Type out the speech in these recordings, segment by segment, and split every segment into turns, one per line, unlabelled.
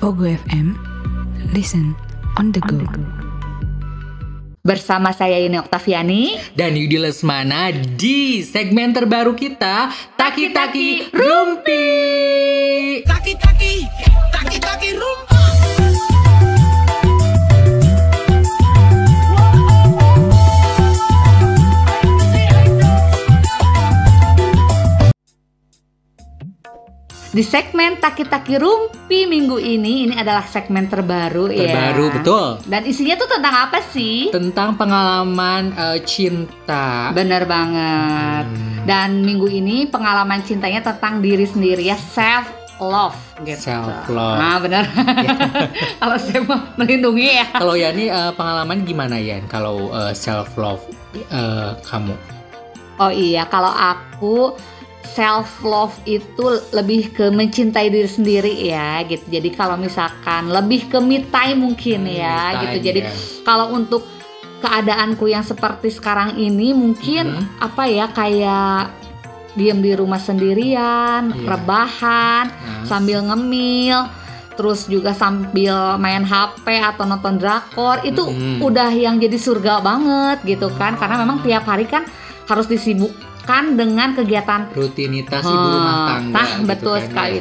Pogo FM. Listen on the go.
Bersama saya Yuni Oktaviani
dan Yudi Lesmana di segmen terbaru kita Taki Taki Rumpi.
Taki taki, taki taki rumpa.
Di segmen Taki-Taki Rumpi minggu ini, ini adalah segmen terbaru, ya.
Terbaru, betul.
Dan isinya tuh tentang apa sih?
Tentang pengalaman eh, cinta.
Bener banget.
Hmm.
Dan minggu ini pengalaman cintanya tentang diri sendiri ya self love gitu.
Self-love.
Nah, benar. Kalau saya mau melindungi ya.
Kalau Yani eh, pengalaman gimana Yan kalau self love kamu?
Oh iya, kalau aku self love itu lebih ke mencintai diri sendiri ya gitu. Jadi kalau misalkan lebih ke me time mungkin ya
Me time,
gitu. Jadi
ya.
kalau untuk keadaanku yang seperti sekarang ini mungkin
Mhm.
apa ya kayak diem di rumah sendirian,
Iya.
rebahan,
Nah,
sambil ngemil terus juga sambil main HP atau nonton drakor itu
Mhm.
udah yang jadi surga banget gitu kan karena memang tiap hari kan harus disibukkan dengan kegiatan
rutinitas ibu rumah
eh,
tangga.
tah,
gitu
betul
kan, ya.
sekali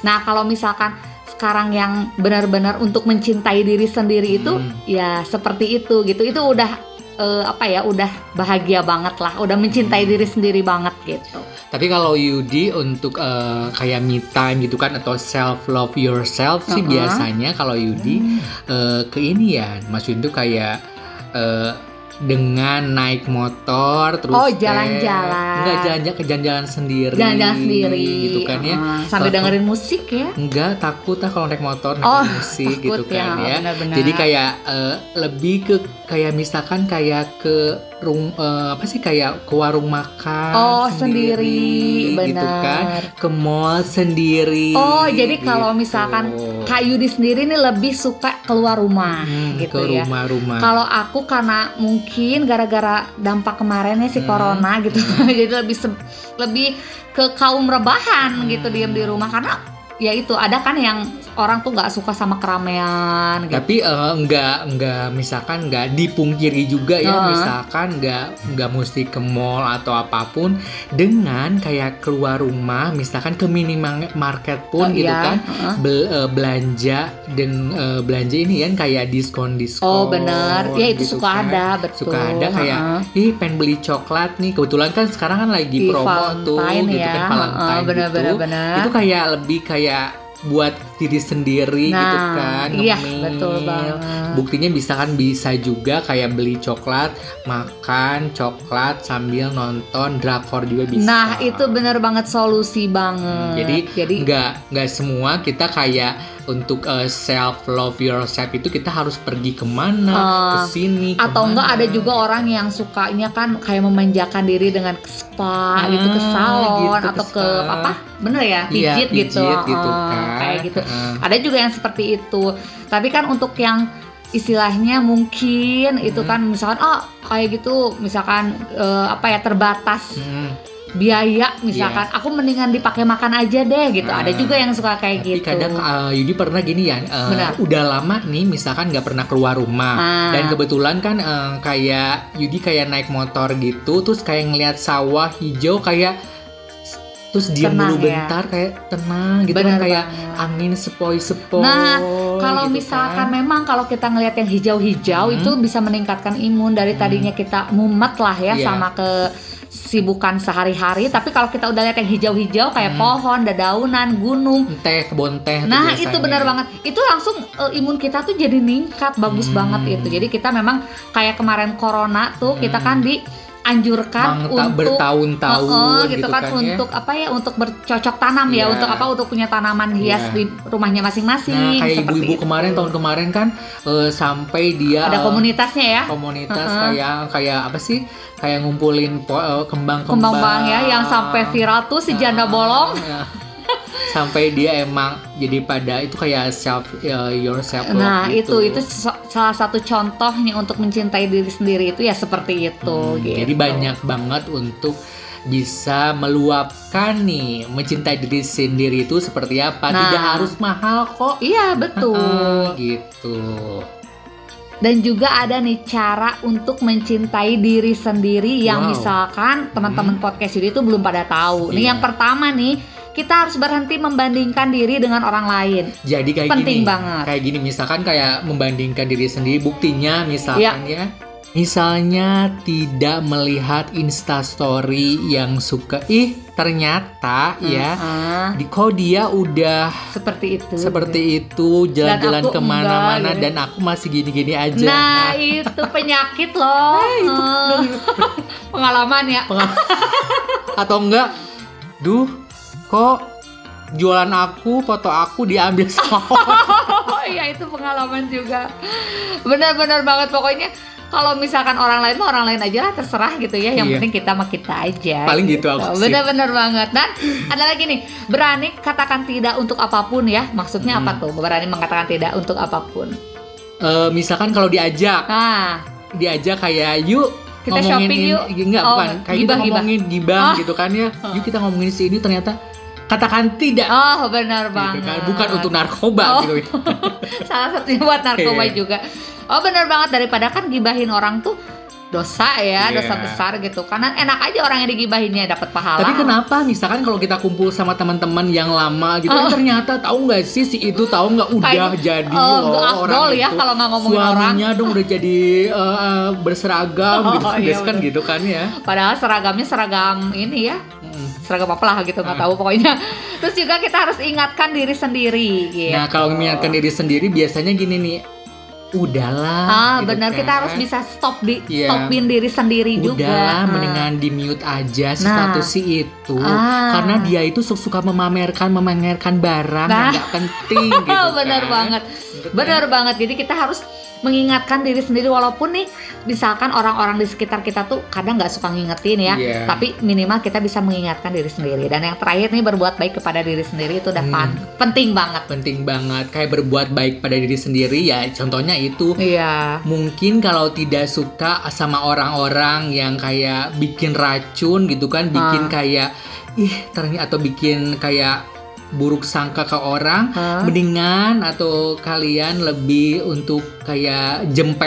nah kalau misalkan sekarang yang benar-benar untuk mencintai diri sendiri itu
Mhm.
ya seperti itu gitu itu udah eh, apa ya udah bahagia banget lah udah mencintai
Mhm.
diri sendiri banget gitu
Tapi kalau Yudi untuk eh, kayak me time gitu kan atau self love yourself sih
Uh-uh.
biasanya kalau Yudi
Hmm.
eh, ke ini ya, maksudnya tuh kayak eh, dengan naik motor terus
Oh,
teh.
jalan-jalan.
enggak jalan-jalan ke jalan-jalan sendiri
jalan-jalan sendiri
gitu kan ya
Eh, sambil
Kalau-
dengerin musik ya
enggak takut lah kalau naik motor naik
Oh,
musik gitu
takut
kan ya
benar-benar.
jadi kayak eh, lebih ke kayak misalkan kayak ke rum eh, apa sih kayak ke warung makan
oh sendiri, benar.
gitu kan ke mall sendiri
Oh, jadi kalau
gitu.
misalkan Kak Yudi sendiri nih lebih suka keluar rumah
Hmm,
gitu
ke
ya.
rumah-rumah
Kalau aku karena mungkin gara-gara dampak kemarinnya si
Hmm.
corona gitu, jadi lebih sem- lebih ke kaum rebahan gitu
Hmm.
diam di rumah karena ya itu ada kan yang orang tuh nggak suka sama keramaian gitu.
tapi eh, enggak enggak misalkan enggak dipungkiri juga ya
Heeh.
misalkan enggak enggak mesti ke mall atau apapun dengan kayak keluar rumah misalkan ke minimarket pun gitu
Iya,
kan
heeh.
bel- eh, belanja dan eh, belanja ini kan kayak diskon diskon
Oh benar, ya itu suka ada betul.
Gitu kan. Suka ada kayak,
heeh.
ih pengen beli coklat nih kebetulan kan sekarang kan
Di
lagi promo tuh
Valentine
gitu
ya,
kan
heeh,
Valentine
benar-benar,
gitu
benar.
itu kayak lebih kayak buat diri sendiri gitu kan
iya
ngemil.
betul banget.
Buktinya bisa kan bisa juga kayak beli coklat, makan coklat sambil nonton drakor juga bisa.
Nah itu bener banget solusi banget.
Hmm, jadi nggak nggak semua kita kayak untuk eh, self love yourself itu kita harus pergi kemana,
Ah,
ke sini.
atau
kemana.
enggak ada juga orang yang sukanya kan kayak memanjakan diri dengan ke spa
Ah,
gitu ke salon
gitu, ke
atau ke,
spa.
apa bener ya
Iya,
pijit gitu,
pijit gitu
Ah,
kan.
kayak gitu
Ah.
ada juga yang seperti itu tapi kan untuk yang istilahnya mungkin itu
Hmm.
kan misalkan oh kayak gitu misalkan eh, apa ya terbatas
Hmm, Iya.
biaya misalkan aku mendingan dipakai makan aja deh gitu ada
Ah.
juga yang suka kayak
Tapi
gitu
kadang eh, Yudi pernah gini ya, eh,
Benar.
udah lama nih misalkan nggak pernah keluar rumah.
Ah.
Dan kebetulan kan eh, kayak Yudi kayak naik motor gitu, terus kayak ngelihat sawah hijau kayak terus diam
Tenang
dulu
ya.
bentar kayak tenang gitu
Bener
kan kayak
banget.
angin sepoi-sepoi. gitu kan.
Nah,
kalau
Kalau misalkan memang kalau kita ngelihat yang hijau-hijau
Oh, Hmm.
itu bisa meningkatkan imun dari
Hmm.
tadinya kita mumet lah ya
Iya.
sama ke sibukan sehari-hari tapi kalau kita udah lihat yang hijau-hijau kayak
Hmm.
pohon, dedaunan, gunung.
teh kebon teh. tuh
Nah,
biasanya.
itu benar banget. Itu langsung eh, imun kita tuh jadi ningkat, bagus
Hmm.
banget itu. Jadi kita memang kayak kemarin corona tuh kita
Hmm.
kan dianjurkan
Mangta-
untuk eh,
bertahun-tahun
Heeh,
gitu, kan, ya.
untuk apa ya untuk bercocok tanam
Iya.
ya untuk apa untuk punya tanaman hias
Iya.
di rumahnya
Nah,
masing-masing
kayak
seperti
ibu-ibu
itu.
kemarin tahun kemarin kan eh, sampai dia
ada
eh,
komunitasnya ya
komunitas
Heeh.
kayak kayak apa sih? Kayak ngumpulin po- eh, kembang-kembang. Ah,
kembang ya yang sampai viral tuh si janda
Nah,
bolong
ya. sampai dia emang jadi pada itu kayak self eh, yourself love
nah
gitu.
itu itu so- salah satu contohnya untuk mencintai diri sendiri itu ya seperti itu
Hmm,
gitu.
jadi banyak banget untuk bisa meluapkan nih mencintai diri sendiri itu seperti apa
Nah.
tidak harus mahal kok
Iya betul.
Eh, gitu
Dan juga ada nih cara untuk mencintai diri sendiri yang
Wow. Hmm.
misalkan teman-teman podcast ini tuh belum pada tahu. Nih
Iya.
yang pertama nih, kita harus berhenti membandingkan diri dengan orang lain.
jadi kayak
Penting
gini
banget.
kayak gini misalkan kayak membandingkan diri sendiri buktinya misalkan ya misalnya tidak melihat instastory yang suka ih ternyata
Hmm.
ya
Heeh,
di kok dia udah
seperti itu.
seperti itu jalan-jalan
aku enggak,
kemana-mana
gitu.
dan aku masih gini-gini aja Nah,
Nah, itu penyakit loh. Eh, Pengalaman ya.
atau enggak duh kok jualan aku foto aku diambil sama orang
Oh iya itu pengalaman juga. Benar-benar banget pokoknya kalau misalkan orang lain mah orang lain aja lah terserah gitu ya. Yang
Iya.
penting kita sama kita aja.
paling gitu aku sih
Bener-bener banget Dan ada lagi nih Berani katakan tidak untuk apapun ya Maksudnya
Hmm.
apa tuh Berani mengatakan tidak untuk apapun
Eh, misalkan kalau diajak
Nah
diajak kayak yuk
Kita shopping
ini-
yuk.
enggak
Oh,
bukan kayak
gibah,
kita
gibah.
ngomongin gibah
Ah.
gitu kan ya yuk kita ngomongin si ini ternyata katakan tidak
Oh bener
gitu
banget
kan bukan untuk narkoba
Oh.
gitu
Salah satunya buat narkoba
Iya.
juga Oh bener banget Daripada kan gibahin orang tuh Dosa ya
Iya.
Dosa besar gitu Karena enak aja orang yang digibahinnya dapat pahala
Nah, Tapi kenapa misalkan kalau kita kumpul sama teman-teman yang lama gitu kan ternyata tahu nggak sih si itu tahu nggak udah
Oh. Kayak,
jadi
eh,
loh
nggak afdol
orang
ya
itu.
kalau nggak ngomongin
suaminya dong udah jadi eh, eh, berseragam
Oh,
gitu kan,
iya,
biasa kan
bener.
gitu kan ya.
Padahal seragamnya seragam ini ya
Mm.
Seragam apa lah gitu
Ah.
nggak tahu pokoknya Terus juga kita harus ingatkan diri sendiri gitu.
Nah kalau mengingatkan diri sendiri biasanya gini nih, udahlah.
Ah,
gitu
benar
kan.
kita harus bisa stop di
Iya.
stopin diri sendiri juga.
Udahlah,
Nah.
mendingan di mute aja si
Nah.
status si itu,
Ah.
karena dia itu suka memamerkan memamerkan barang
Nah.
yang nggak penting gitu
Oh,
kan.
benar banget.
Gitu kan.
Benar banget. Jadi kita harus mengingatkan diri sendiri walaupun nih misalkan orang-orang di sekitar kita tuh kadang nggak suka ngingetin ya,
Iya.
tapi minimal kita bisa mengingatkan diri sendiri. Dan yang terakhir nih berbuat baik kepada diri sendiri itu udah
Hmm.
pan- penting banget.
penting banget kayak berbuat baik pada diri sendiri ya contohnya itu
Iya.
mungkin kalau tidak suka sama orang-orang yang kayak bikin racun gitu
Ah.
kan bikin kayak ih ternyata atau bikin kayak buruk sangka ke orang
Hah?
mendingan atau kalian lebih untuk kayak jempeh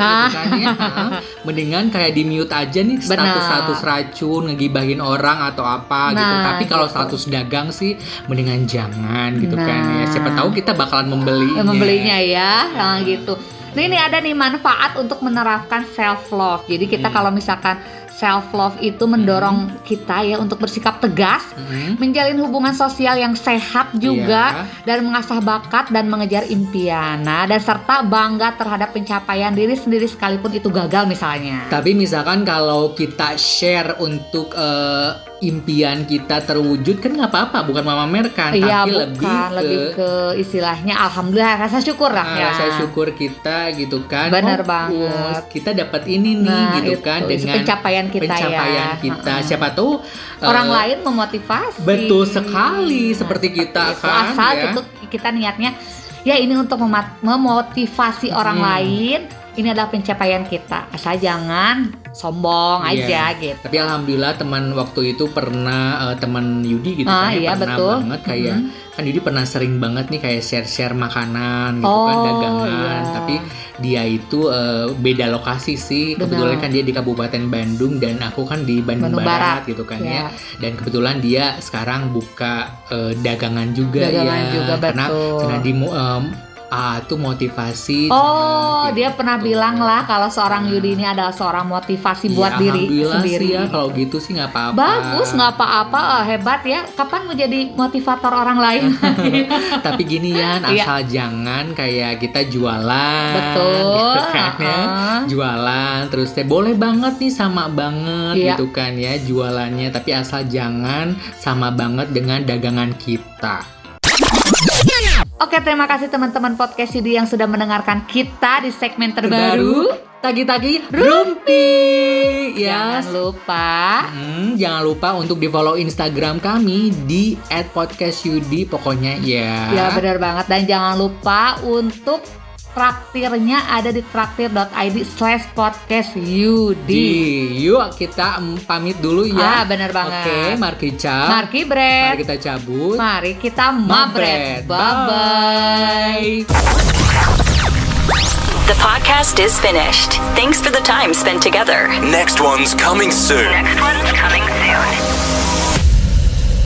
Ah.
gitu kan ya Hah? mendingan kayak di mute aja nih
Benar.
status-status racun ngegibahin orang atau apa gitu
Nah,
tapi kalau
gitu.
status dagang sih mendingan jangan gitu kan
Nah.
ya siapa tahu kita bakalan membelinya
Eh, membelinya ya nah,
Hmm.
gitu nah ini ada nih manfaat untuk menerapkan self love jadi kita
Hmm.
kalau misalkan self love itu mendorong kita ya untuk bersikap tegas
Mhm.
menjalin hubungan sosial yang sehat juga
Iya.
dan mengasah bakat dan mengejar impian nah dan serta bangga terhadap pencapaian diri sendiri sekalipun itu gagal misalnya
Tapi misalkan kalau kita share untuk eh, impian kita terwujud kan nggak apa-apa, bukan memamerkan,
Iya
tapi
bukan
lebih
lebih
ke,
ke... istilahnya alhamdulillah rasa syukur lah
ah,
ya
rasa syukur kita gitu kan.
Bener
Oh,
banget.
oh, kita dapat ini nih
Nah,
gitu
itu,
kan
itu
dengan
pencapaian kita
pencapaian
ya
kita.
Heeh.
Siapa tahu eh,
orang lain memotivasi. Nah,
Betul sekali, seperti kita,
itu.
kan,
Asal
ya.
itu kita niatnya ya ini untuk mema- memotivasi orang
Hmm.
lain. Ini adalah pencapaian kita. Asal jangan sombong aja
Iya.
gitu.
Tapi alhamdulillah teman waktu itu pernah eh, teman Yudi gitu
Ah,
kan ya,
iya,
pernah
betul. Mm-hmm.
banget kayak kan Yudi pernah sering banget nih kayak share-share makanan gitu kan
Oh,
dagangan.
iya.
Tapi dia itu eh, beda lokasi sih. Kebetulan
Benar.
kan dia di Kabupaten Bandung dan aku kan di Bandung,
Bandung
Barat, gitu kan ya.
Ya,
Dan kebetulan dia sekarang buka eh, dagangan juga
dagangan
ya.
juga
karena
betul.
karena di mo- em, ah, tuh motivasi.
Oh,
Cina,
dia
gitu.
pernah bilang lah kalau seorang Yudi ini adalah seorang motivasi buat
Iya,
diri
alhamdulillah
sendiri.
sih ya kalau gitu sih nggak apa-apa.
Bagus, nggak apa-apa, eh, hebat ya. Kapan mau jadi motivator orang lain?
Tapi gini ya,
Iya.
asal jangan kayak kita jualan.
Betul. Uh-huh.
gitu kan ya.
heeh.
Jualan terus teh boleh banget nih sama banget
Iya.
gitu kan ya jualannya tapi asal jangan sama banget dengan dagangan kita.
Oke, terima kasih teman-teman podcast CD yang sudah mendengarkan kita di segmen terbaru.
tagi-tagi rumpi. Ya.
Jangan lupa.
Hmm, jangan lupa untuk di follow Instagram kami di @podcastyudi pokoknya ya.
Ya benar banget dan jangan lupa untuk traktirnya ada di traktir.id slash podcast Yudi.
Di, yuk kita mm, pamit dulu
Ah,
ya.
bener banget.
Oke, Marki Cap.
Marki
Mari
Bread.
kita cabut.
Mari kita mabret. Bye-bye.
Bye.
The podcast is finished. Thanks for the time spent together.
Next one's coming soon.
Next one's coming soon.